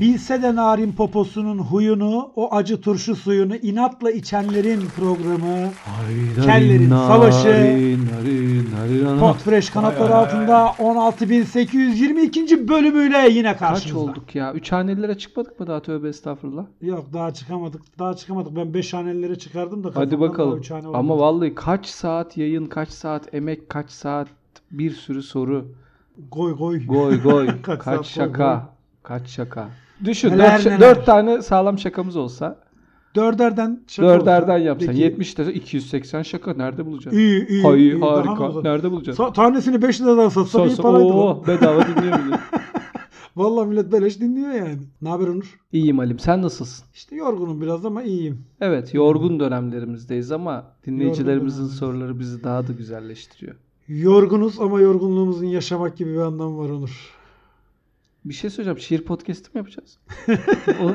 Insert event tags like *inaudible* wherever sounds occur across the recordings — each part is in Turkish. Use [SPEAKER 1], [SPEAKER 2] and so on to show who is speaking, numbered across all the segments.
[SPEAKER 1] Bilse de narin poposunun huyunu, o acı turşu suyunu inatla içenlerin programı Kellerin savaşı. Pot Fresh kanatları altında 16.822. bölümüyle yine
[SPEAKER 2] Kaç
[SPEAKER 1] karşınızda.
[SPEAKER 2] olduk ya? Üç hanelilere çıkmadık mı daha tövbe estağfurullah.
[SPEAKER 1] Yok daha çıkamadık. Daha çıkamadık. Ben 5 hanelere çıkardım da
[SPEAKER 2] Hadi
[SPEAKER 1] kafamdan daha
[SPEAKER 2] bakalım.
[SPEAKER 1] üç hane
[SPEAKER 2] Ama
[SPEAKER 1] olmadı.
[SPEAKER 2] vallahi kaç saat yayın, kaç saat emek, kaç saat bir sürü soru.
[SPEAKER 1] goy goy.
[SPEAKER 2] Goy goy.
[SPEAKER 1] *laughs* Kaç
[SPEAKER 2] kaç,
[SPEAKER 1] saat, goy,
[SPEAKER 2] şaka.
[SPEAKER 1] goy.
[SPEAKER 2] Kaç şaka. Düşün
[SPEAKER 1] Neler
[SPEAKER 2] dört,
[SPEAKER 1] neler.
[SPEAKER 2] dört tane sağlam şakamız olsa.
[SPEAKER 1] Dörderden şaka
[SPEAKER 2] dörderden
[SPEAKER 1] olsa,
[SPEAKER 2] yapsan.
[SPEAKER 1] peki.
[SPEAKER 2] 70 lira 280 şaka nerede bulacaksın?
[SPEAKER 1] İyi iyi.
[SPEAKER 2] Hayır,
[SPEAKER 1] iyi. Daha mı
[SPEAKER 2] harika.
[SPEAKER 1] uzak?
[SPEAKER 2] Nerede bulacaksın?
[SPEAKER 1] Sa- tanesini 5 liradan satsa iyi
[SPEAKER 2] Sonsa
[SPEAKER 1] paraydı. lan.
[SPEAKER 2] ooo bedava dinliyorum.
[SPEAKER 1] Vallahi millet beleş dinliyor yani. Ne haber Onur?
[SPEAKER 2] İyiyim Halim sen nasılsın?
[SPEAKER 1] İşte yorgunum biraz ama iyiyim.
[SPEAKER 2] Evet yorgun dönemlerimizdeyiz ama dinleyicilerimizin
[SPEAKER 1] dönemlerimiz.
[SPEAKER 2] soruları bizi daha da güzelleştiriyor.
[SPEAKER 1] Yorgunuz ama yorgunluğumuzun yaşamak gibi bir anlamı var Onur.
[SPEAKER 2] Bir şey söyleyeceğim. Şiir podcast'i
[SPEAKER 1] *laughs*
[SPEAKER 2] mi yapacağız? o,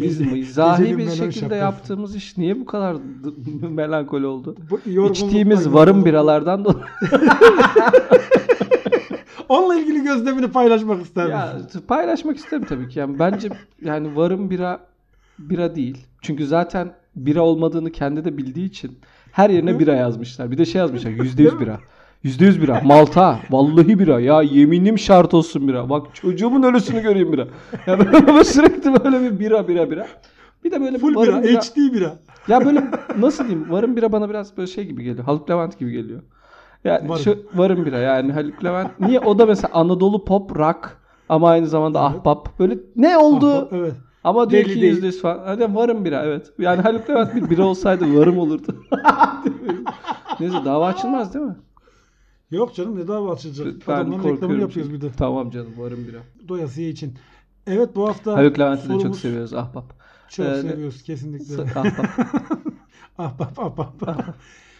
[SPEAKER 2] biz
[SPEAKER 1] Gece-
[SPEAKER 2] mi? Zahi
[SPEAKER 1] gecenin
[SPEAKER 2] bir
[SPEAKER 1] melon
[SPEAKER 2] şekilde
[SPEAKER 1] şapkası.
[SPEAKER 2] yaptığımız iş niye bu kadar d- *laughs* melankoli oldu?
[SPEAKER 1] Bu yorgunlukla-
[SPEAKER 2] İçtiğimiz varım biralardan dolayı.
[SPEAKER 1] Onunla ilgili gözlemini paylaşmak ister
[SPEAKER 2] ya,
[SPEAKER 1] misin?
[SPEAKER 2] paylaşmak isterim tabii ki. Yani bence yani varım bira bira değil. Çünkü zaten bira olmadığını kendi de bildiği için her yerine bira yazmışlar. Bir de şey yazmışlar. Yüzde yüz bira. Yüzde yüz bira. Malta. Vallahi bira. Ya yeminim şart olsun bira. Bak çocuğumun ölüsünü göreyim bira. Ya *laughs* böyle sürekli böyle bir bira bira bira. Bir de böyle bir
[SPEAKER 1] Full bira,
[SPEAKER 2] varım bira.
[SPEAKER 1] HD bira.
[SPEAKER 2] Ya böyle nasıl diyeyim? Varım bira bana biraz böyle şey gibi geliyor. Haluk Levent gibi geliyor. Yani
[SPEAKER 1] Varım.
[SPEAKER 2] şu varım bira yani Haluk Levent. Niye o da mesela Anadolu pop rock ama aynı zamanda ahbap. Böyle ne oldu?
[SPEAKER 1] Ah, evet.
[SPEAKER 2] Ama diyor
[SPEAKER 1] Belli
[SPEAKER 2] ki
[SPEAKER 1] değil.
[SPEAKER 2] yüzde yüz falan. Hadi varım bira evet. Yani Haluk Levent bir bira olsaydı
[SPEAKER 1] *laughs*
[SPEAKER 2] varım olurdu. Neyse dava açılmaz değil mi?
[SPEAKER 1] Yok canım ne daha açılacak?
[SPEAKER 2] Ben
[SPEAKER 1] Adamların reklamını
[SPEAKER 2] korkuyorum
[SPEAKER 1] yapıyoruz bir
[SPEAKER 2] çünkü.
[SPEAKER 1] de.
[SPEAKER 2] Tamam canım varım bira.
[SPEAKER 1] Doyasıya için. Evet bu hafta
[SPEAKER 2] Haluk Levent'i de çok
[SPEAKER 1] sorumuz-
[SPEAKER 2] seviyoruz ahbap.
[SPEAKER 1] Çok
[SPEAKER 2] Ee,
[SPEAKER 1] seviyoruz kesinlikle.
[SPEAKER 2] ahbap.
[SPEAKER 1] *laughs* ah bak bak bak bak.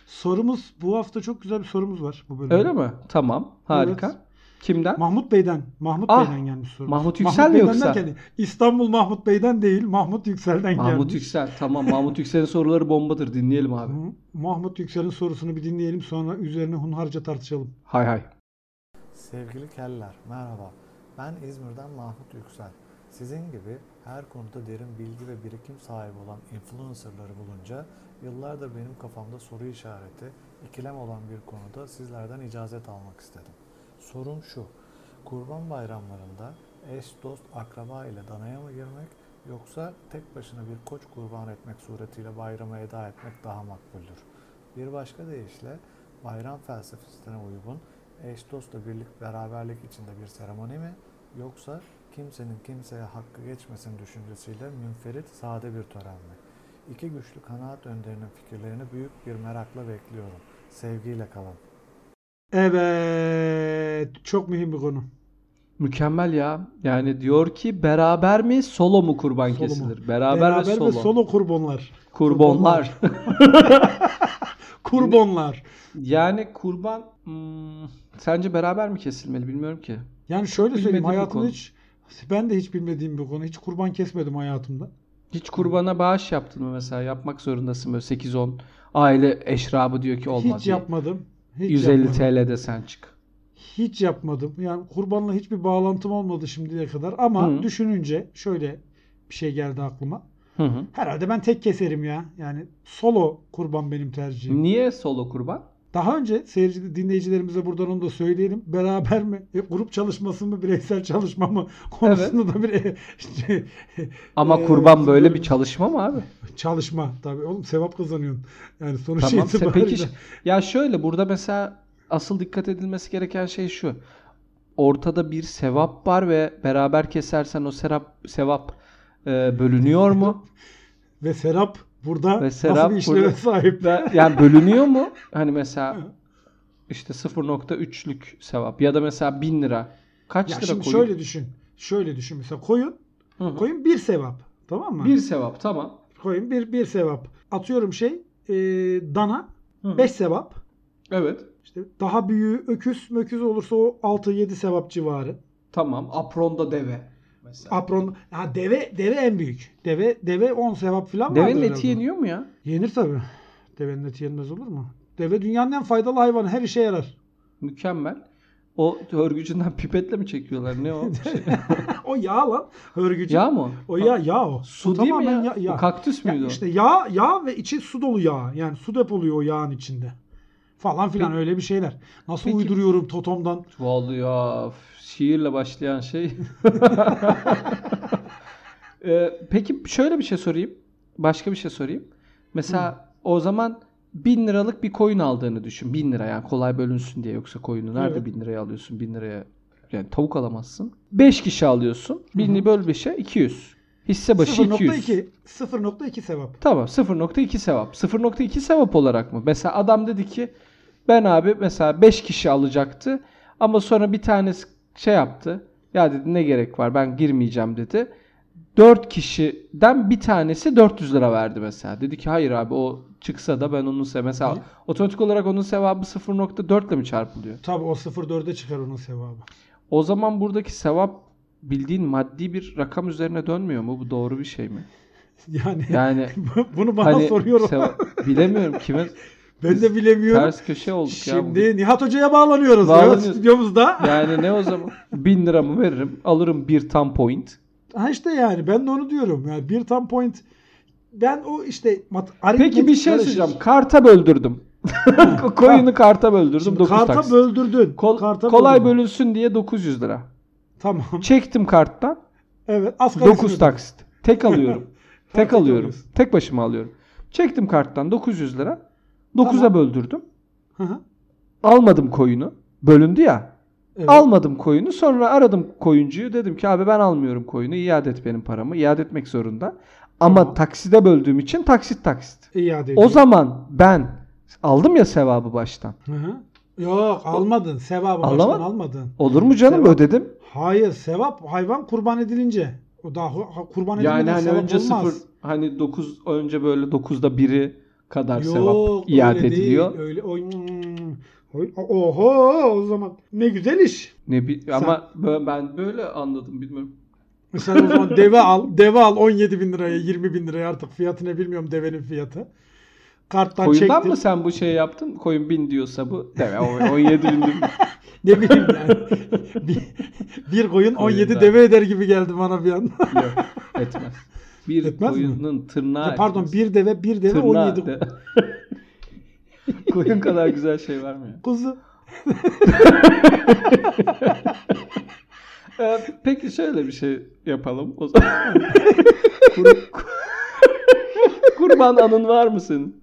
[SPEAKER 1] Sorumuz bu hafta çok güzel bir sorumuz var bu bölümde.
[SPEAKER 2] Öyle mi? Tamam. Harika.
[SPEAKER 1] Evet.
[SPEAKER 2] Kimden?
[SPEAKER 1] Mahmut Bey'den. Mahmut
[SPEAKER 2] Ah!
[SPEAKER 1] Bey'den gelmiş soru.
[SPEAKER 2] Mahmut Yüksel mi
[SPEAKER 1] Bey'den
[SPEAKER 2] yoksa?
[SPEAKER 1] derken İstanbul Mahmut Bey'den değil, Mahmut Yüksel'den
[SPEAKER 2] Mahmut
[SPEAKER 1] gelmiş.
[SPEAKER 2] Yüksel. Tamam Mahmut Yüksel'in soruları bombadır. Dinleyelim abi.
[SPEAKER 1] Hı. Mahmut Yüksel'in sorusunu bir dinleyelim sonra üzerine hunharca tartışalım.
[SPEAKER 2] Hay hay.
[SPEAKER 3] Sevgili keller, merhaba. Ben İzmir'den Mahmut Yüksel. Sizin gibi her konuda derin bilgi ve birikim sahibi olan influencerları bulunca yıllardır benim kafamda soru işareti, ikilem olan bir konuda sizlerden icazet almak istedim. Sorum şu, kurban bayramlarında eş, dost, akraba ile danaya mı girmek yoksa tek başına bir koç kurban etmek suretiyle bayrama eda etmek daha makbuldür? Bir başka deyişle bayram felsefesine uygun eş dostla birlik beraberlik içinde bir seremoni mi yoksa kimsenin kimseye hakkı geçmesin düşüncesiyle münferit sade bir tören mi? İki güçlü kanaat önderinin fikirlerini büyük bir merakla bekliyorum. Sevgiyle kalın.
[SPEAKER 1] Evet, çok mühim bir konu.
[SPEAKER 2] Mükemmel ya. Yani diyor ki beraber mi solo mu kurban
[SPEAKER 1] Solo mu?
[SPEAKER 2] kesilir? Beraber, ve solo.
[SPEAKER 1] kurbonlar.
[SPEAKER 2] Kurbonlar.
[SPEAKER 1] *laughs* Kurbonlar.
[SPEAKER 2] *laughs* yani kurban hmm, sence beraber mi kesilmeli bilmiyorum ki.
[SPEAKER 1] Yani şöyle söyleyeyim
[SPEAKER 2] Bilmediğim bir
[SPEAKER 1] hayatımda
[SPEAKER 2] konu.
[SPEAKER 1] hiç ben de hiç bilmediğim bir konu. Hiç kurban kesmedim hayatımda.
[SPEAKER 2] Hiç kurbana bağış yaptın mı mesela? Yapmak zorundasın böyle 8-10 aile eşrabı diyor ki olmaz.
[SPEAKER 1] hiç
[SPEAKER 2] diye.
[SPEAKER 1] yapmadım. Hiç
[SPEAKER 2] 150
[SPEAKER 1] yapmadım.
[SPEAKER 2] TL'de sen çık.
[SPEAKER 1] Hiç yapmadım. Yani kurbanla hiçbir bağlantım olmadı şimdiye kadar ama
[SPEAKER 2] Hı.
[SPEAKER 1] düşününce şöyle bir şey geldi aklıma.
[SPEAKER 2] Hı hı.
[SPEAKER 1] Herhalde ben tek keserim ya. Yani solo kurban benim tercihim.
[SPEAKER 2] Niye solo kurban?
[SPEAKER 1] Daha önce seyirci dinleyicilerimize buradan onu da söyleyelim. Beraber mi? e, grup çalışması mı? Bireysel çalışma mı? *laughs* Konusunda da bir işte,
[SPEAKER 2] Ama
[SPEAKER 1] Ee,
[SPEAKER 2] kurban böyle bir
[SPEAKER 1] bilmiyorum.
[SPEAKER 2] çalışma mı abi?
[SPEAKER 1] *laughs* çalışma. Tabii oğlum sevap kazanıyorsun. Yani sonuç
[SPEAKER 2] Tamam. se-
[SPEAKER 1] itibariyle.
[SPEAKER 2] Peki ş- ya şöyle burada mesela asıl dikkat edilmesi gereken şey şu. Ortada bir sevap var ve beraber kesersen o serap, sevap e,
[SPEAKER 1] *laughs*
[SPEAKER 2] bölünüyor mu?
[SPEAKER 1] Ve Serap burada
[SPEAKER 2] Ve Serap
[SPEAKER 1] nasıl bir işleve
[SPEAKER 2] burada-
[SPEAKER 1] sahip?
[SPEAKER 2] Ve- yani bölünüyor mu? Hani mesela işte 0.3'lük sevap ya da mesela 1000 lira. Kaç
[SPEAKER 1] Ya
[SPEAKER 2] lira
[SPEAKER 1] şimdi
[SPEAKER 2] koyun?
[SPEAKER 1] şöyle düşün. Şöyle düşün. Mesela koyun.
[SPEAKER 2] Hı hı.
[SPEAKER 1] Koyun bir sevap. Tamam mı?
[SPEAKER 2] Bir sevap tamam.
[SPEAKER 1] Koyun bir, bir sevap. Atıyorum şey e, dana
[SPEAKER 2] Hı.
[SPEAKER 1] 5 sevap.
[SPEAKER 2] Evet.
[SPEAKER 1] İşte daha büyüğü öküz möküz olursa o 6-7 sevap civarı.
[SPEAKER 2] Tamam. Apronda deve. Mesela.
[SPEAKER 1] Apron ha deve deve en büyük. Deve deve 10 sevap falan vardır
[SPEAKER 2] Devenin
[SPEAKER 1] herhalde.
[SPEAKER 2] eti yeniyor mu ya?
[SPEAKER 1] Yenir tabii. Devenin eti yenmez olur mu? Deve dünyanın en faydalı hayvanı. Her işe yarar. *laughs*
[SPEAKER 2] Mükemmel. O hörgücünden pipetle mi çekiyorlar? Ne
[SPEAKER 1] *laughs*
[SPEAKER 2] o? Şey,
[SPEAKER 1] o yağ lan. Hörgücü.
[SPEAKER 2] yağ mı?
[SPEAKER 1] O yağ yağ o.
[SPEAKER 2] Su
[SPEAKER 1] o
[SPEAKER 2] değil mi
[SPEAKER 1] tamamen
[SPEAKER 2] ya?
[SPEAKER 1] yağ- yağ.
[SPEAKER 2] O kaktüs
[SPEAKER 1] Ya
[SPEAKER 2] müydü
[SPEAKER 1] işte yağ, yağ ve içi su dolu yağ. Yani su depoluyor o yağın içinde. Falan filan
[SPEAKER 2] Peki-
[SPEAKER 1] öyle bir şeyler. Nasıl
[SPEAKER 2] Peki-
[SPEAKER 1] uyduruyorum Totom'dan?
[SPEAKER 2] o? Vallahi ya f- şiirle başlayan şey. *laughs* Ee, peki şöyle bir şey sorayım. Başka bir şey sorayım. Mesela o zaman 1000 liralık bir coin aldığını düşün. 1000 lira yani kolay bölünsün diye yoksa coin'i nerede
[SPEAKER 1] Evet.
[SPEAKER 2] 1000 liraya alıyorsun? 1000 liraya yani tavuk alamazsın. 5 kişi alıyorsun. 1000'i böl 5'e 200. Hisse başı 200.
[SPEAKER 1] 0.2. 0.2 sevap.
[SPEAKER 2] Tamam 0.2 sevap. 0.2 sevap olarak mı? Mesela adam dedi ki ben abi mesela 5 kişi alacaktı ama sonra bir tanesi şey yaptı. Ya dedi ne gerek var ben girmeyeceğim dedi. 4 kişiden bir tanesi 400 lira verdi mesela. Dedi ki hayır abi o çıksa da ben onun se mesela
[SPEAKER 1] Ne?
[SPEAKER 2] otomatik olarak onun sevabı 0.4 ile mi çarpılıyor?
[SPEAKER 1] Tabii o 0.4'e çıkar onun sevabı. *laughs*
[SPEAKER 2] O zaman buradaki sevap bildiğin maddi bir rakam üzerine dönmüyor mu? Bu doğru bir şey mi?
[SPEAKER 1] Yani,
[SPEAKER 2] Yani
[SPEAKER 1] bu- *laughs* bunu bana
[SPEAKER 2] hani
[SPEAKER 1] soruyorum.
[SPEAKER 2] seva- bilemiyorum kime
[SPEAKER 1] ben de bilemiyorum.
[SPEAKER 2] Ters köşe olduk ya.
[SPEAKER 1] Şimdi
[SPEAKER 2] bugün.
[SPEAKER 1] Nihat Hoca'ya bağlanıyoruz.
[SPEAKER 2] Bağlanıyoruz.
[SPEAKER 1] Evet, stüdyomuzda.
[SPEAKER 2] Yani ne
[SPEAKER 1] *laughs*
[SPEAKER 2] o zaman? 1000 liramı veririm. Alırım bir tam point.
[SPEAKER 1] Ha işte yani ben de onu diyorum. Yani bir tam point ben o işte mat, aritmetik
[SPEAKER 2] Peki bir şey
[SPEAKER 1] karışık.
[SPEAKER 2] söyleyeceğim.
[SPEAKER 1] *laughs*
[SPEAKER 2] Karta böldürdüm. *laughs* Coin'i karta böldürdüm.
[SPEAKER 1] Şimdi
[SPEAKER 2] 9
[SPEAKER 1] karta
[SPEAKER 2] taksit.
[SPEAKER 1] böldürdün.
[SPEAKER 2] Kol-
[SPEAKER 1] karta
[SPEAKER 2] kolay
[SPEAKER 1] böldürdün.
[SPEAKER 2] bölünsün diye 900 lira.
[SPEAKER 1] Tamam.
[SPEAKER 2] Çektim karttan.
[SPEAKER 1] Evet. Az kalsın
[SPEAKER 2] 9
[SPEAKER 1] ödedin.
[SPEAKER 2] taksit.
[SPEAKER 1] *laughs*
[SPEAKER 2] Tek alıyorum.
[SPEAKER 1] tek
[SPEAKER 2] Tek alıyorum.
[SPEAKER 1] alıyorsun.
[SPEAKER 2] Tek başıma alıyorum. Çektim karttan 900 lira. 9'a
[SPEAKER 1] Tamam.
[SPEAKER 2] böldürdüm.
[SPEAKER 1] Hı hı.
[SPEAKER 2] Almadım koyunu. Bölündü ya.
[SPEAKER 1] Evet.
[SPEAKER 2] Almadım koyunu. Sonra aradım koyuncuyu. Dedim ki abi ben almıyorum koyunu. İade et benim paramı. İade etmek zorunda. Ama
[SPEAKER 1] Tamam.
[SPEAKER 2] takside böldüğüm için taksit taksit.
[SPEAKER 1] İade
[SPEAKER 2] O
[SPEAKER 1] ediyor.
[SPEAKER 2] zaman ben aldım ya sevabı baştan.
[SPEAKER 1] Hı hı. Yok almadın. Sevabı
[SPEAKER 2] Alamadın.
[SPEAKER 1] baştan almadın.
[SPEAKER 2] Olur mu canım
[SPEAKER 1] Sevap.
[SPEAKER 2] ödedim.
[SPEAKER 1] Hayır sevap hayvan kurban edilince. O daha ha- kurban edilince
[SPEAKER 2] Yani hani
[SPEAKER 1] sevap
[SPEAKER 2] önce
[SPEAKER 1] olmaz.
[SPEAKER 2] sıfır hani 9 önce böyle 9'da 1'i kadar
[SPEAKER 1] Yok,
[SPEAKER 2] sevap iade
[SPEAKER 1] öyle değil,
[SPEAKER 2] ediliyor.
[SPEAKER 1] Öyle, oy, hmm. oy- oho o zaman ne güzel iş.
[SPEAKER 2] Ne bi- ama bö- ben böyle anladım bilmiyorum.
[SPEAKER 1] Mesela o zaman deve al. Deve al 17 bin liraya 20 bin liraya artık fiyatı ne bilmiyorum devenin fiyatı. Karttan
[SPEAKER 2] Koyundan
[SPEAKER 1] çektim.
[SPEAKER 2] mı sen bu şeyi yaptın? Koyun 1000 diyorsa bu. Deve o- 17 bin.
[SPEAKER 1] *laughs*
[SPEAKER 2] değil mi?
[SPEAKER 1] Ne bileyim yani. *laughs* bir, bir koyun 17
[SPEAKER 2] Koyundan.
[SPEAKER 1] deve eder gibi geldi bana bir an.
[SPEAKER 2] Yok *laughs* etmez. Bir
[SPEAKER 1] Etmez mi?
[SPEAKER 2] koyunun tırnağı.
[SPEAKER 1] Ya *laughs* Pardon
[SPEAKER 2] etmez.
[SPEAKER 1] bir deve bir deve
[SPEAKER 2] Tırnağı
[SPEAKER 1] 17
[SPEAKER 2] de- *laughs* Koyun kadar güzel şey var mı ya?
[SPEAKER 1] kuzu.
[SPEAKER 2] Ee, peki şöyle bir şey yapalım o zaman. *laughs* Kur- kur- kurban anın var mı senin?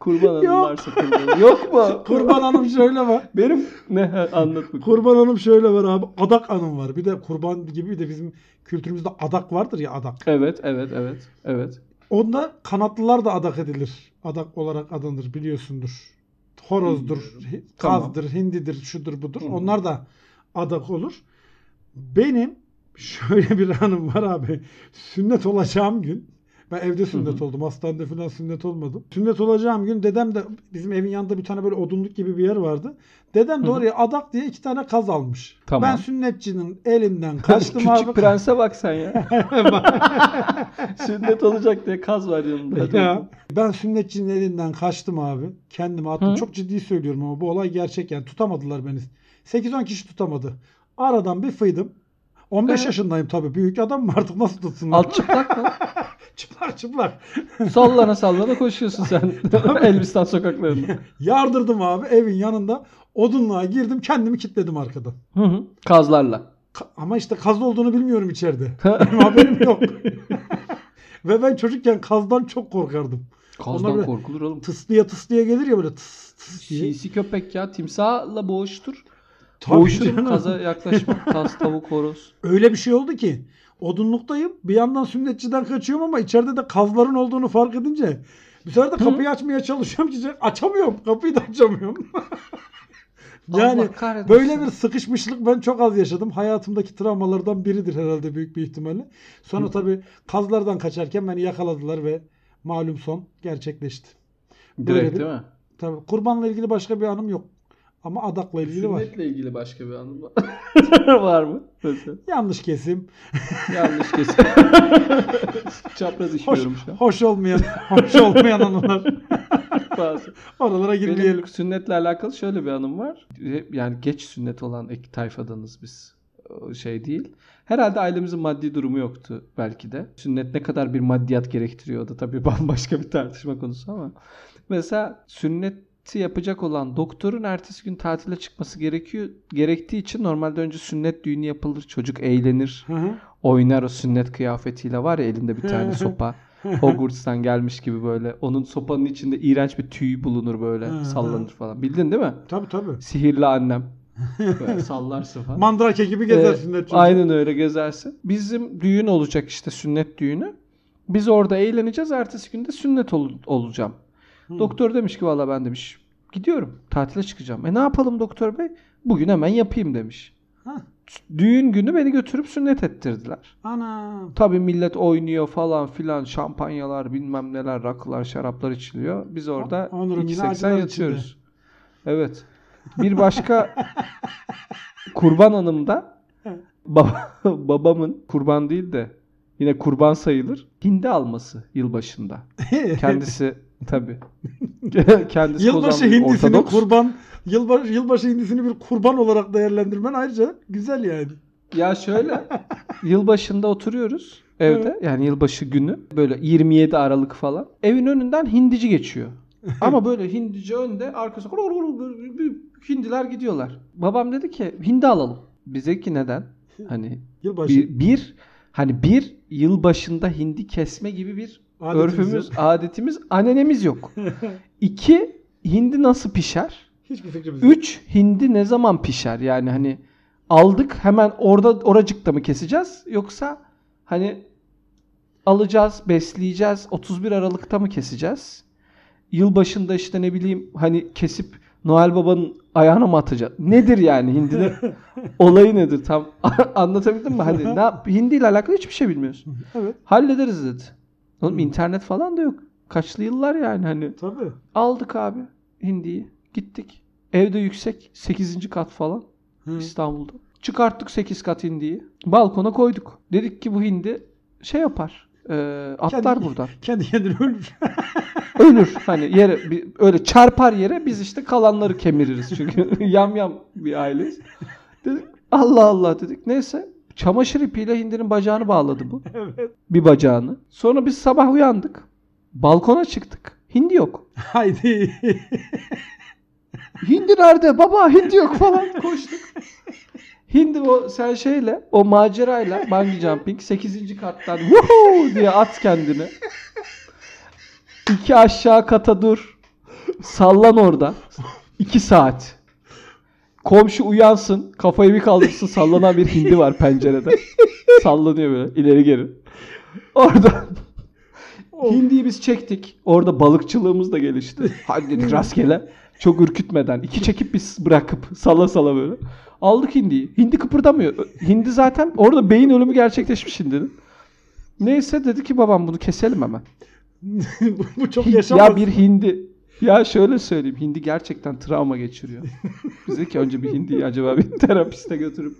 [SPEAKER 2] Kurban anın
[SPEAKER 1] Yok.
[SPEAKER 2] varsa kurban. Yok mu?
[SPEAKER 1] Kurban Hanım şöyle var.
[SPEAKER 2] Benim ne Ha, anlat bakayım.
[SPEAKER 1] Kurban Hanım şöyle var abi. Adak Hanım var. Bir de kurban gibi bir de bizim kültürümüzde adak vardır ya adak.
[SPEAKER 2] Evet, evet, evet, evet.
[SPEAKER 1] Onda kanatlılar da adak edilir. Adak olarak adanır biliyorsundur. Horozdur, hi-
[SPEAKER 2] Tamam.
[SPEAKER 1] kazdır, hindidir, şudur budur.
[SPEAKER 2] Hı hı.
[SPEAKER 1] Onlar da adak olur. Benim şöyle bir anım var abi. Sünnet olacağım gün. Ben evde sünnet oldum. Hastanede falan sünnet olmadım. Sünnet olacağım gün dedem de bizim evin yanında bir tane böyle odunluk gibi bir yer vardı. Dedem de
[SPEAKER 2] Hı hı.
[SPEAKER 1] oraya adak diye iki tane kaz almış.
[SPEAKER 2] Tamam.
[SPEAKER 1] Ben sünnetçinin
[SPEAKER 2] *laughs*
[SPEAKER 1] elinden kaçtım
[SPEAKER 2] Küçük
[SPEAKER 1] abi.
[SPEAKER 2] prense bak
[SPEAKER 1] *laughs*
[SPEAKER 2] sen ya. Sünnet olacak diye kaz var yanında. Hadi
[SPEAKER 1] Ya.
[SPEAKER 2] bakayım.
[SPEAKER 1] Ben sünnetçinin elinden kaçtım abi. Kendimi attım.
[SPEAKER 2] Hı.
[SPEAKER 1] Çok ciddi söylüyorum ama bu olay gerçek yani. Tutamadılar beni. 8-10 kişi tutamadı. Aradan bir fıydım. 15
[SPEAKER 2] Ee?
[SPEAKER 1] yaşındayım tabii. Büyük adam mı artık nasıl tutsunlar?
[SPEAKER 2] Alt çıplak mı?
[SPEAKER 1] *laughs* Çıplak çıplak.
[SPEAKER 2] Sallana sallana koşuyorsun sen Elbistan sokaklarında.
[SPEAKER 1] Yardırdım abi evin yanında. Odunluğa girdim. Kendimi kitledim arkadan.
[SPEAKER 2] Hı hı. Kazlarla.
[SPEAKER 1] *laughs* Ka- Ama işte kaz olduğunu bilmiyorum içeride. *laughs* Benim haberim yok. *laughs* Ve ben çocukken kazdan çok korkardım. Onlar
[SPEAKER 2] Kazdan
[SPEAKER 1] böyle-
[SPEAKER 2] korkulur oğlum.
[SPEAKER 1] Tıslıya tıslıya gelir ya böyle tıs tıs diye.
[SPEAKER 2] Sinsi köpek ya. Timsahla boğuştur.
[SPEAKER 1] Tabii
[SPEAKER 2] Boğuşur
[SPEAKER 1] canım.
[SPEAKER 2] kaza yaklaşma. Kaz, tavuk, horoz.
[SPEAKER 1] Öyle bir şey oldu ki odunluktayım. Bir yandan sünnetçiden kaçıyorum ama içeride de kazların olduğunu fark edince bir sefer de kapıyı açmaya çalışıyorum ki *laughs* açamıyorum. Kapıyı da açamıyorum. *laughs* yani
[SPEAKER 2] Allah kahretmesin.
[SPEAKER 1] böyle bir sıkışmışlık ben çok az yaşadım. Hayatımdaki travmalardan biridir herhalde büyük bir ihtimalle. Sonra tabii kazlardan kaçarken beni yakaladılar ve malum son gerçekleşti.
[SPEAKER 2] Direkt
[SPEAKER 1] bir-
[SPEAKER 2] değil mi?
[SPEAKER 1] Tabii kurbanla ilgili başka bir anım yok. Ama adakla ilgili var.
[SPEAKER 2] Sünnetle ilgili başka bir anım var. *laughs* var mı? Mesela.
[SPEAKER 1] Yanlış kesim.
[SPEAKER 2] Yanlış
[SPEAKER 1] *laughs*
[SPEAKER 2] kesin. Çapraz
[SPEAKER 1] Hoş,
[SPEAKER 2] işliyorum şu an.
[SPEAKER 1] hoş olmayan, *laughs* hoş olmayan anılar.
[SPEAKER 2] Bazı.
[SPEAKER 1] Oralara girmeyelim.
[SPEAKER 2] Benim *laughs* sünnetle alakalı şöyle bir anım var. E, Yani geç sünnet olan ek tayfadanız biz. O Şey değil. Herhalde ailemizin maddi durumu yoktu belki de. Sünnet ne kadar bir maddiyat gerektiriyordu tabii *laughs* bambaşka bir tartışma konusu ama. Mesela sünneti yapacak olan doktorun ertesi gün tatile çıkması gerekiyor gerektiği için normalde önce sünnet düğünü yapılır. Çocuk eğlenir.
[SPEAKER 1] Hı hı.
[SPEAKER 2] Oynar o sünnet kıyafetiyle var ya elinde
[SPEAKER 1] *laughs*
[SPEAKER 2] bir tane sopa. Hogwarts'tan gelmiş gibi böyle. Onun sopanın içinde iğrenç bir tüy bulunur
[SPEAKER 1] Hı hı.
[SPEAKER 2] böyle. sallanır falan. Bildin değil mi?
[SPEAKER 1] Tabii tabii. *laughs*
[SPEAKER 2] Sihirli annem. Böyle sallarsın falan.
[SPEAKER 1] Mandrake gibi
[SPEAKER 2] Ee,
[SPEAKER 1] gezersin de çünkü.
[SPEAKER 2] Aynen öyle gezersin. Bizim düğün olacak işte sünnet düğünü. Biz orada eğleneceğiz. Ertesi günde sünnet ol- olacağım.
[SPEAKER 1] Hı.
[SPEAKER 2] Doktor demiş ki valla ben demiş gidiyorum. Tatile çıkacağım. E ne yapalım doktor bey? Bugün hemen yapayım demiş.
[SPEAKER 1] Hah.
[SPEAKER 2] Düğün günü beni götürüp sünnet ettirdiler.
[SPEAKER 1] Ana.
[SPEAKER 2] Tabii millet oynuyor falan filan şampanyalar bilmem neler rakılar şaraplar içiliyor. Biz orada
[SPEAKER 1] Onur'un yine
[SPEAKER 2] 2.80
[SPEAKER 1] acılar
[SPEAKER 2] yatıyoruz. Evet. Bir başka kurban anımda
[SPEAKER 1] Evet.
[SPEAKER 2] baba- *laughs* babamın kurban değil de yine kurban sayılır hindi alması yılbaşında. *laughs* Kendisi tabii.
[SPEAKER 1] *laughs*
[SPEAKER 2] Kendisi
[SPEAKER 1] Yılbaşı
[SPEAKER 2] Kozanlı bir
[SPEAKER 1] hindisini
[SPEAKER 2] Ortodoks.
[SPEAKER 1] kurban, yılbaşı, yılbaşı hindisini bir kurban olarak değerlendirmen ayrıca güzel yani.
[SPEAKER 2] Ya şöyle yılbaşında oturuyoruz evde yani yılbaşı günü böyle 27 Aralık falan evin önünden
[SPEAKER 1] *laughs*
[SPEAKER 2] hindici geçiyor. Ama böyle hindici önde arkası hindiler gidiyorlar. Babam dedi ki hindi alalım. Bize ki neden? Hani
[SPEAKER 1] Yılbaşı.
[SPEAKER 2] bir, bir hani bir yılbaşında hindi kesme gibi bir
[SPEAKER 1] Adetimiz
[SPEAKER 2] örfümüz,
[SPEAKER 1] yok.
[SPEAKER 2] adetimiz,
[SPEAKER 1] *laughs*
[SPEAKER 2] anenemiz yok. İki hindi nasıl pişer?
[SPEAKER 1] Hiçbir fikrimiz yok.
[SPEAKER 2] 3 hindi ne zaman pişer? Yani hani aldık hemen orada oracıkta mı keseceğiz yoksa hani alacağız, besleyeceğiz, 31 Aralık'ta mı keseceğiz? Yılbaşında işte ne bileyim hani kesip Noel Baba'nın ayağına mı atacağız? Nedir
[SPEAKER 1] *laughs*
[SPEAKER 2] yani hindinin olayı nedir tam *laughs* anlatabildim mi? Hani ne yap- hindi ile alakalı hiçbir şey bilmiyorsun.
[SPEAKER 1] Evet.
[SPEAKER 2] Hallederiz dedi. Oğlum internet falan da yok. Kaçlı yıllar yani hani.
[SPEAKER 1] Tabii.
[SPEAKER 2] Aldık abi hindiyi. Gittik. Evde yüksek 8. kat falan
[SPEAKER 1] Hı.
[SPEAKER 2] İstanbul'da. Çıkarttık 8 kat hindiyi. Balkona koyduk. Dedik ki bu hindi şey yapar. e, atlar
[SPEAKER 1] Kendi-
[SPEAKER 2] buradan.
[SPEAKER 1] *laughs*
[SPEAKER 2] *laughs*
[SPEAKER 1] Kendi kendine ölür.
[SPEAKER 2] Ölür. Hani yere bir- öyle çarpar yere biz işte kalanları kemiririz. Çünkü *laughs* yam yam bir aileyiz. Dedik Allah Allah dedik. Neyse çamaşır ipiyle hindinin bacağını bağladı bu.
[SPEAKER 1] *laughs* evet.
[SPEAKER 2] Bir bacağını. Sonra biz sabah uyandık. Balkona çıktık. Hindi yok.
[SPEAKER 1] Haydi. *laughs*
[SPEAKER 2] Hindi nerede? Baba hindi yok falan koştuk. Hindi o sen şeyle o macerayla bungee jumping 8. kattan vuhu diye at kendini. İki aşağı kata dur. Sallan orada. 2 saat. Komşu uyansın. Kafayı bir kaldırsın. Sallanan bir hindi var pencerede. Sallanıyor böyle ileri geri. Orada Hindiyi biz çektik. Orada balıkçılığımız da gelişti. Hadi dedik rastgele. Çok ürkütmeden. iki çekip biz bırakıp sala sala böyle. Aldık hindiyi. Hindi kıpırdamıyor. Ö- Hindi zaten orada beyin ölümü gerçekleşmiş hindinin. Neyse dedi ki babam bunu keselim hemen.
[SPEAKER 1] bu, bu çok
[SPEAKER 2] Hin-
[SPEAKER 1] yaşamaz.
[SPEAKER 2] ya bir hindi. Ya şöyle söyleyeyim. Hindi gerçekten travma geçiriyor. Bize ki önce bir hindiyi acaba bir terapiste götürüp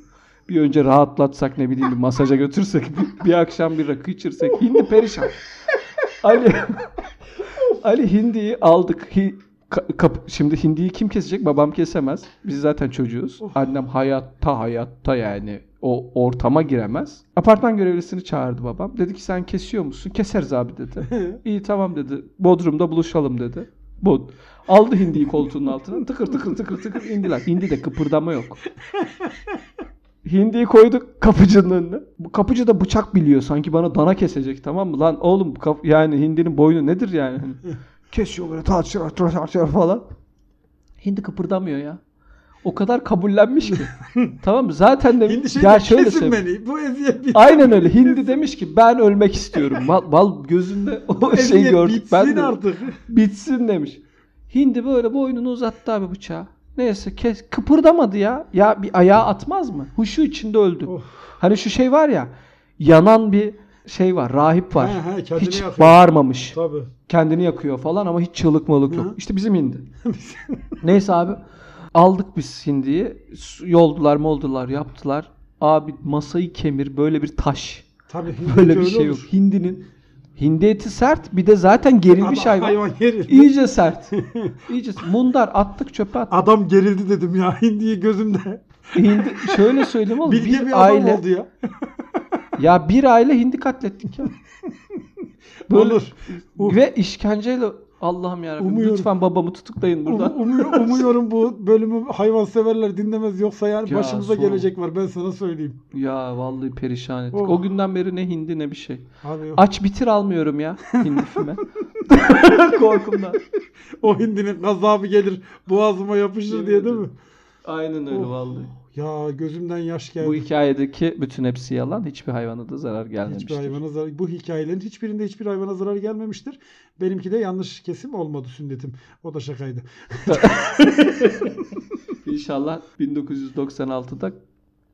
[SPEAKER 2] bir önce rahatlatsak ne bileyim bir masaja götürsek bir, bir akşam bir rakı içirsek hindi perişan. Ali *laughs* Ali hindiyi aldık. Hi- ka- kap- şimdi hindiyi kim kesecek? Babam kesemez. Biz zaten çocuğuz. Annem hayatta hayatta yani o ortama giremez. Apartman görevlisini çağırdı babam. Dedi ki sen kesiyor musun? Keseriz abi dedi. İyi tamam dedi. Bodrum'da buluşalım dedi. Bod Aldı hindiyi koltuğunun altına. Tıkır tıkır tıkır tıkır indiler. Hindi de kıpırdama yok. Hindiyi koyduk kapıcının önüne. Bu kapıcı da bıçak biliyor sanki bana dana kesecek tamam mı? Lan oğlum kaf- yani hindinin boynu nedir yani?
[SPEAKER 1] *laughs*
[SPEAKER 2] Hani Kesiyor böyle tartışıyor tartışıyor falan. Hindi kıpırdamıyor ya. O kadar
[SPEAKER 1] *laughs*
[SPEAKER 2] kabullenmiş ki. tamam mı? Zaten de
[SPEAKER 1] Hindi şey
[SPEAKER 2] ya
[SPEAKER 1] ya
[SPEAKER 2] şöyle
[SPEAKER 1] kesin
[SPEAKER 2] söyleyeyim.
[SPEAKER 1] beni. Bu eziyet bir
[SPEAKER 2] Aynen
[SPEAKER 1] *laughs*
[SPEAKER 2] öyle. Hindi demiş ki ben ölmek istiyorum. Bal, bal gözünde o şey
[SPEAKER 1] eziyet
[SPEAKER 2] gördük.
[SPEAKER 1] bitsin
[SPEAKER 2] ben de-
[SPEAKER 1] artık.
[SPEAKER 2] Bitsin demiş. Hindi böyle boynunu uzattı abi bıçağı. Neyse kes, kıpırdamadı ya. Ya bir ayağa atmaz mı? Huşu içinde öldü.
[SPEAKER 1] Of.
[SPEAKER 2] Hani şu şey var ya. Yanan bir şey var. Rahip var.
[SPEAKER 1] He, he, kendini
[SPEAKER 2] hiç
[SPEAKER 1] yakıyor.
[SPEAKER 2] bağırmamış.
[SPEAKER 1] Tabii. *laughs*
[SPEAKER 2] Kendini yakıyor falan ama hiç çığlık malık yok.
[SPEAKER 1] Hı.
[SPEAKER 2] İşte bizim hindi. Neyse abi. Aldık biz hindiyi. Su- Yoldular moldular yaptılar. Abi masayı kemir böyle bir taş.
[SPEAKER 1] Tabii
[SPEAKER 2] Böyle bir şey yok. Hindinin hindi eti sert bir de zaten gerilmiş hayvan.
[SPEAKER 1] Hayvan gerildi. *laughs*
[SPEAKER 2] İyice sert. İyice mundar attık çöpe attık.
[SPEAKER 1] Adam gerildi dedim ya *laughs* hindiyi gözümde.
[SPEAKER 2] Hindi, şöyle söyleyeyim oğlum
[SPEAKER 1] Bilge bir,
[SPEAKER 2] bir,
[SPEAKER 1] adam
[SPEAKER 2] aile
[SPEAKER 1] oldu ya.
[SPEAKER 2] ya bir aile hindi
[SPEAKER 1] *laughs*
[SPEAKER 2] katlettik ya. *laughs* Böyle
[SPEAKER 1] Olur. Um-
[SPEAKER 2] ve işkenceyle Allah'ım yarabbim
[SPEAKER 1] Umuyorum.
[SPEAKER 2] lütfen babamı tutuklayın buradan.
[SPEAKER 1] Um- umuyor- umuyorum bu bölümü hayvanseverler dinlemez yoksa yani
[SPEAKER 2] Ya,
[SPEAKER 1] başımıza
[SPEAKER 2] sorma.
[SPEAKER 1] gelecek var ben sana söyleyeyim.
[SPEAKER 2] Ya vallahi perişan ettik.
[SPEAKER 1] Oh.
[SPEAKER 2] O günden beri ne hindi ne bir şey.
[SPEAKER 1] Abi yok.
[SPEAKER 2] Aç bitir almıyorum ya
[SPEAKER 1] *laughs*
[SPEAKER 2] hindifime. Korkumdan.
[SPEAKER 1] o hindinin gazabı gelir boğazıma yapışır
[SPEAKER 2] Yemin
[SPEAKER 1] diye değil mi?
[SPEAKER 2] ederim. Aynen öyle
[SPEAKER 1] Of.
[SPEAKER 2] vallahi.
[SPEAKER 1] Ya gözümden yaş geldi.
[SPEAKER 2] Bu hikayedeki bütün hepsi yalan. Hiçbir hayvana da zarar
[SPEAKER 1] Hiçbir
[SPEAKER 2] gelmemiştir.
[SPEAKER 1] hayvana zarar, bu hikayelerin hiçbirinde hiçbir hayvana zarar gelmemiştir. Benimki de yanlış kesim olmadı sünnetim. O da şakaydı.
[SPEAKER 2] İnşallah 1996'da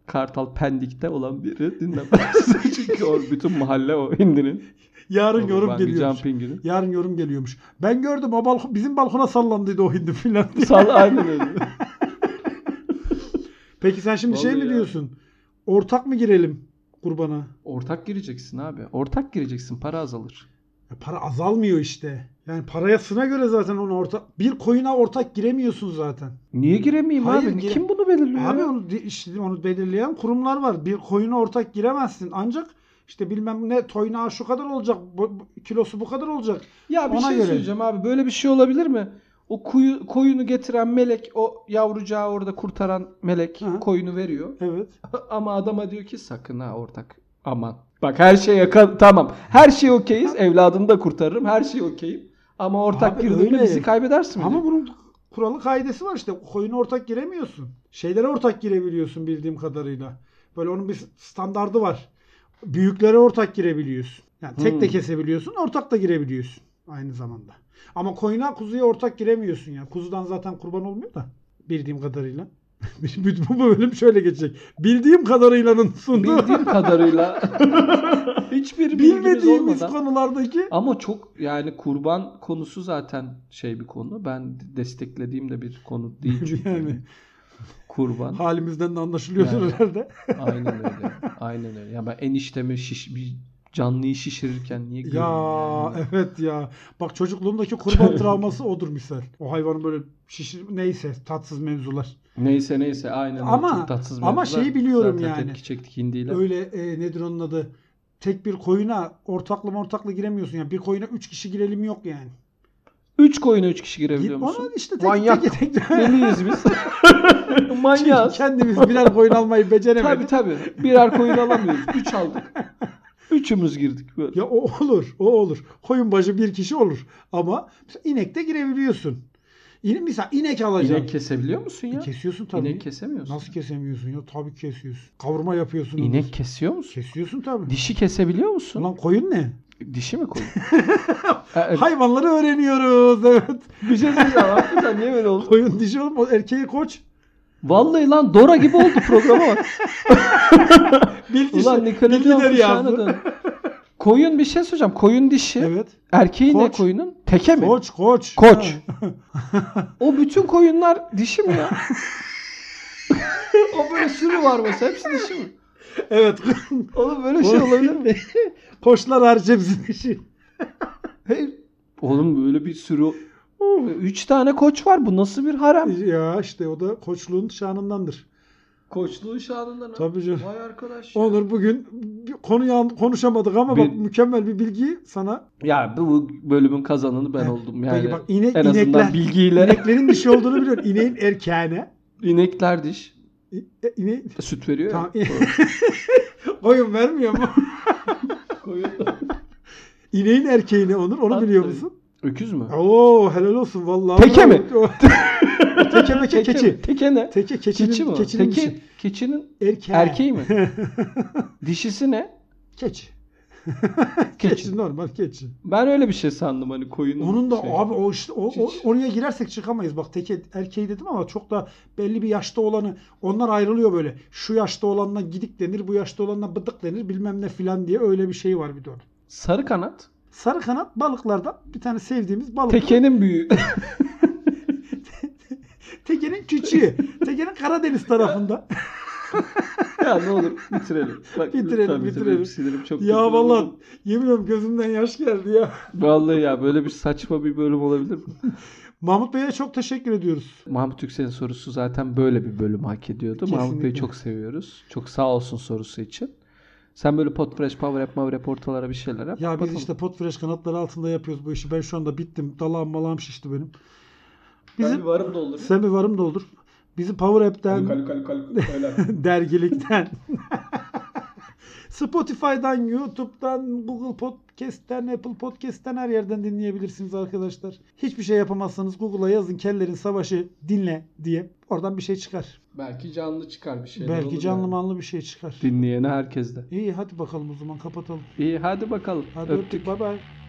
[SPEAKER 2] Kartal Pendik'te olan biri dinlemez. *laughs* Çünkü o bütün mahalle o hindinin.
[SPEAKER 1] Yarın
[SPEAKER 2] Olur,
[SPEAKER 1] yorum
[SPEAKER 2] ben bir
[SPEAKER 1] geliyormuş.
[SPEAKER 2] jumping'ini.
[SPEAKER 1] Yarın yorum geliyormuş. Ben gördüm o balkon, bizim balkona sallandıydı o hindi filan *laughs* diye.
[SPEAKER 2] Sal aynen öyle.
[SPEAKER 1] Peki sen şimdi şey
[SPEAKER 2] Vallahi
[SPEAKER 1] mi
[SPEAKER 2] ya.
[SPEAKER 1] diyorsun? Ortak mı girelim kurbana?
[SPEAKER 2] *laughs* Ortak gireceksin abi. Ortak gireceksin para azalır.
[SPEAKER 1] Ya para azalmıyor işte. Yani paraya sına göre zaten onu ortak bir koyuna ortak giremiyorsun zaten.
[SPEAKER 2] Niye giremeyeyim
[SPEAKER 1] Hayır,
[SPEAKER 2] abi?
[SPEAKER 1] gire-
[SPEAKER 2] Kim bunu belirliyor?
[SPEAKER 1] Abi
[SPEAKER 2] ya?
[SPEAKER 1] onu de- işte onu belirleyen kurumlar var. Bir koyuna ortak giremezsin. Ancak işte bilmem ne toynağı şu kadar olacak, bu- bu- kilosu bu kadar olacak.
[SPEAKER 2] Ya bir
[SPEAKER 1] Ona
[SPEAKER 2] şey
[SPEAKER 1] göre.
[SPEAKER 2] söyleyeceğim abi. Böyle bir şey olabilir mi? O kuyu, koyunu getiren melek, o yavrucağı orada kurtaran melek
[SPEAKER 1] Hı.
[SPEAKER 2] koyunu veriyor.
[SPEAKER 1] Evet.
[SPEAKER 2] Ama adama diyor ki sakın ha ortak. Aman. Bak her şey yaka- tamam. Her şey okeyiz. Evladını da kurtarırım. Her şey okeyim. Ama ortak
[SPEAKER 1] Abi
[SPEAKER 2] girdin mi
[SPEAKER 1] öyle.
[SPEAKER 2] bizi kaybedersin.
[SPEAKER 1] Ama
[SPEAKER 2] Ama
[SPEAKER 1] bunun kuralı kaidesi var işte. Koyuna ortak giremiyorsun. Şeylere ortak girebiliyorsun bildiğim kadarıyla. Böyle onun bir standardı var. Büyüklere ortak girebiliyorsun. Yani tek de
[SPEAKER 2] Hmm.
[SPEAKER 1] kesebiliyorsun, ortak da girebiliyorsun aynı zamanda. Ama koyuna kuzuya ortak giremiyorsun ya. Kuzudan zaten kurban olmuyor da bildiğim kadarıyla. *laughs* Bu bölüm şöyle geçecek. Bildiğim kadarıyla'nın sunduğu *laughs*
[SPEAKER 2] bildiğim kadarıyla hiçbir bilgimiz
[SPEAKER 1] bilmediğimiz
[SPEAKER 2] olmadan.
[SPEAKER 1] konulardaki
[SPEAKER 2] Ama çok yani kurban konusu zaten şey bir konu. Ben desteklediğim de bir konu değil
[SPEAKER 1] *laughs*
[SPEAKER 2] çünkü.
[SPEAKER 1] Yani.
[SPEAKER 2] Kurban.
[SPEAKER 1] halimizden de anlaşılıyordur
[SPEAKER 2] Yani.
[SPEAKER 1] herhalde.
[SPEAKER 2] Aynen öyle. Aynen öyle. Ya ben eniştemi şiş, bir canlıyı şişirirken niye
[SPEAKER 1] Ya
[SPEAKER 2] görüyorum yani?
[SPEAKER 1] evet ya. Bak çocukluğumdaki
[SPEAKER 2] *laughs*
[SPEAKER 1] kurban travması odur misal. O hayvanın böyle şişir neyse tatsız mevzular.
[SPEAKER 2] Neyse neyse aynen öyle.
[SPEAKER 1] Ama-
[SPEAKER 2] Çok tatsız
[SPEAKER 1] ama
[SPEAKER 2] mevzular.
[SPEAKER 1] şeyi biliyorum
[SPEAKER 2] Zaten
[SPEAKER 1] yani.
[SPEAKER 2] tepki çektik hindiyle.
[SPEAKER 1] Öyle e, nedir onun adı? Tek bir koyuna ortaklı ortakla giremiyorsun yani. Bir koyuna 3 kişi girelim yok yani.
[SPEAKER 2] Üç koyuna üç kişi girebiliyor musun?
[SPEAKER 1] Ona işte tek
[SPEAKER 2] Manyak.
[SPEAKER 1] tek
[SPEAKER 2] *laughs*
[SPEAKER 1] tek, tek- *laughs*
[SPEAKER 2] Deliyiz biz.
[SPEAKER 1] Çünkü
[SPEAKER 2] Manyağız.
[SPEAKER 1] kendimiz birer koyun almayı
[SPEAKER 2] *laughs* tabii
[SPEAKER 1] beceremedik.
[SPEAKER 2] tabii. Birer koyun alamıyoruz. Üç aldık. Üçümüz girdik böyle.
[SPEAKER 1] Ya o olur, o olur. Koyun başı bir kişi olur ama mesela inek de girebiliyorsun. İne, mesela inek alacaksın. E,
[SPEAKER 2] İnek kesebiliyor musun ya?
[SPEAKER 1] Kesiyorsun tabii.
[SPEAKER 2] İnek kesemiyorsun.
[SPEAKER 1] Nasıl kesemiyorsun ya? Tabii kesiyorsun. Kavurma yapıyorsun. onu.
[SPEAKER 2] İnek kesiyor musun?
[SPEAKER 1] Kesiyorsun tabii.
[SPEAKER 2] Dişi kesebiliyor musun?
[SPEAKER 1] Ulan koyun ne?
[SPEAKER 2] Dişi
[SPEAKER 1] *laughs*
[SPEAKER 2] mi koyun? Ee,
[SPEAKER 1] Hayvanları öğreniyoruz *laughs* evet.
[SPEAKER 2] bir şey söyleyeceğim. Hakikaten niye böyle oldu?
[SPEAKER 1] Koyun dişi oğlum o erkeği koç.
[SPEAKER 2] Vallahi lan Dora gibi oldu programa
[SPEAKER 1] *laughs*
[SPEAKER 2] bak.
[SPEAKER 1] Bil dişi.
[SPEAKER 2] Ulan Nikolaj'ın
[SPEAKER 1] bilgileri
[SPEAKER 2] kuşağına
[SPEAKER 1] yazdı.
[SPEAKER 2] dön. Koyun bir şey söyleyeceğim. Koyun dişi.
[SPEAKER 1] Evet.
[SPEAKER 2] Erkeği ne
[SPEAKER 1] Koç.
[SPEAKER 2] koyunun? Teke mi?
[SPEAKER 1] Koç koç.
[SPEAKER 2] Koç.
[SPEAKER 1] Ha. *laughs*
[SPEAKER 2] O bütün koyunlar dişi mi ya? *laughs* o böyle sürü var mesela. Hepsi dişi mi?
[SPEAKER 1] Evet. *laughs*
[SPEAKER 2] Oğlum böyle şey olabilir mi?
[SPEAKER 1] Koçlar hariç hepsi dişi.
[SPEAKER 2] Hey, Oğlum böyle bir sürü... Üç tane koç var. Bu nasıl bir harem?
[SPEAKER 1] ya işte o da koçluğun şanındandır.
[SPEAKER 2] Koçluğun şanından.
[SPEAKER 1] Tabii canım.
[SPEAKER 2] Vay arkadaş.
[SPEAKER 1] Onur bugün bir konuyu an- konuşamadık ama
[SPEAKER 2] Bir-
[SPEAKER 1] bak mükemmel bir bilgi sana.
[SPEAKER 2] Ya bu- bu bölümün kazananı ben
[SPEAKER 1] Heh,
[SPEAKER 2] oldum yani.
[SPEAKER 1] Peki bak inek,
[SPEAKER 2] en azından
[SPEAKER 1] inekler,
[SPEAKER 2] bilgiyle.
[SPEAKER 1] ineklerin dişi olduğunu biliyorum. İneğin erkeğine.
[SPEAKER 2] İnekler diş.
[SPEAKER 1] İ- e, İne,
[SPEAKER 2] Süt veriyor
[SPEAKER 1] Tamam.
[SPEAKER 2] ya.
[SPEAKER 1] *laughs* koyun vermiyor mu? İneğin erkeğine Onur onu
[SPEAKER 2] Tabii,
[SPEAKER 1] biliyor
[SPEAKER 2] tabii.
[SPEAKER 1] musun?
[SPEAKER 2] Öküz mü?
[SPEAKER 1] Oo helal olsun vallahi.
[SPEAKER 2] Teke mi?
[SPEAKER 1] *laughs* teke meke keçi.
[SPEAKER 2] mi? Teke ne?
[SPEAKER 1] Teke keçinin,
[SPEAKER 2] Keçi mi?
[SPEAKER 1] keçinin
[SPEAKER 2] Teke,
[SPEAKER 1] dişi.
[SPEAKER 2] keçinin
[SPEAKER 1] Erkeği.
[SPEAKER 2] erkeği mi?
[SPEAKER 1] *laughs*
[SPEAKER 2] Dişisi ne?
[SPEAKER 1] Keçi.
[SPEAKER 2] Keçi.
[SPEAKER 1] Keçi normal keçi.
[SPEAKER 2] Ben öyle bir şey sandım hani koyunun.
[SPEAKER 1] Onun da
[SPEAKER 2] şeyi.
[SPEAKER 1] abi o işte o, o-
[SPEAKER 2] Çiç.
[SPEAKER 1] oraya girersek çıkamayız. Bak teke erkeği dedim ama çok da belli bir yaşta olanı onlar ayrılıyor böyle. Şu yaşta olanla gidik denir, bu yaşta olanla bıdık denir bilmem ne filan diye öyle bir şey var bir de onun.
[SPEAKER 2] Sarı kanat.
[SPEAKER 1] Sarı kanat *laughs* balıklardan bir tane sevdiğimiz balık.
[SPEAKER 2] Tekenin büyüğü.
[SPEAKER 1] Teke'nin
[SPEAKER 2] *laughs*
[SPEAKER 1] küçüğü. Teke'nin Karadeniz tarafında.
[SPEAKER 2] Ya ne olur bitirelim. Bak,
[SPEAKER 1] Bitirelim,
[SPEAKER 2] lütfen
[SPEAKER 1] bitirelim.
[SPEAKER 2] Sinirim çok kötü
[SPEAKER 1] ya vallahi
[SPEAKER 2] oldu.
[SPEAKER 1] yemin ediyorum gözümden yaş geldi ya.
[SPEAKER 2] Vallahi ya böyle bir saçma bir bölüm olabilir mi?
[SPEAKER 1] Mahmut Bey'e çok teşekkür ediyoruz.
[SPEAKER 2] Mahmut Yüksel'in sorusu zaten böyle bir bölüm hak ediyordu. Mahmut Bey'i
[SPEAKER 1] Kesinlikle.
[SPEAKER 2] çok seviyoruz. Çok sağ olsun sorusu için. Sen böyle potfresh, power up, power up ortalara bir şeyler yap.
[SPEAKER 1] Ya biz
[SPEAKER 2] Bakalım.
[SPEAKER 1] işte potfresh kanatları altında yapıyoruz bu işi. Ben şu anda bittim. Dalağım malam şişti benim.
[SPEAKER 2] Ben
[SPEAKER 1] Bizim
[SPEAKER 2] bir varım da olur.
[SPEAKER 1] sen bir varım da olur. Bizi Power App'ten
[SPEAKER 2] Kalu kalu kalu kalu. Öyle.
[SPEAKER 1] *laughs* dergilikten. *laughs* Spotify'dan, YouTube'dan, Google Podcast'ten, Apple Podcast'ten her yerden dinleyebilirsiniz arkadaşlar. Hiçbir şey yapamazsanız Google'a yazın Kellerin Savaşı dinle diye. Oradan bir şey çıkar.
[SPEAKER 2] Belki canlı çıkar bir şeyler olur
[SPEAKER 1] Belki canlı
[SPEAKER 2] yani.
[SPEAKER 1] manlı bir şey çıkar.
[SPEAKER 2] Dinleyene herkes de.
[SPEAKER 1] İyi hadi bakalım o zaman kapatalım.
[SPEAKER 2] İyi hadi bakalım.
[SPEAKER 1] Hadi
[SPEAKER 2] Öptük.
[SPEAKER 1] öptük. Bay bay.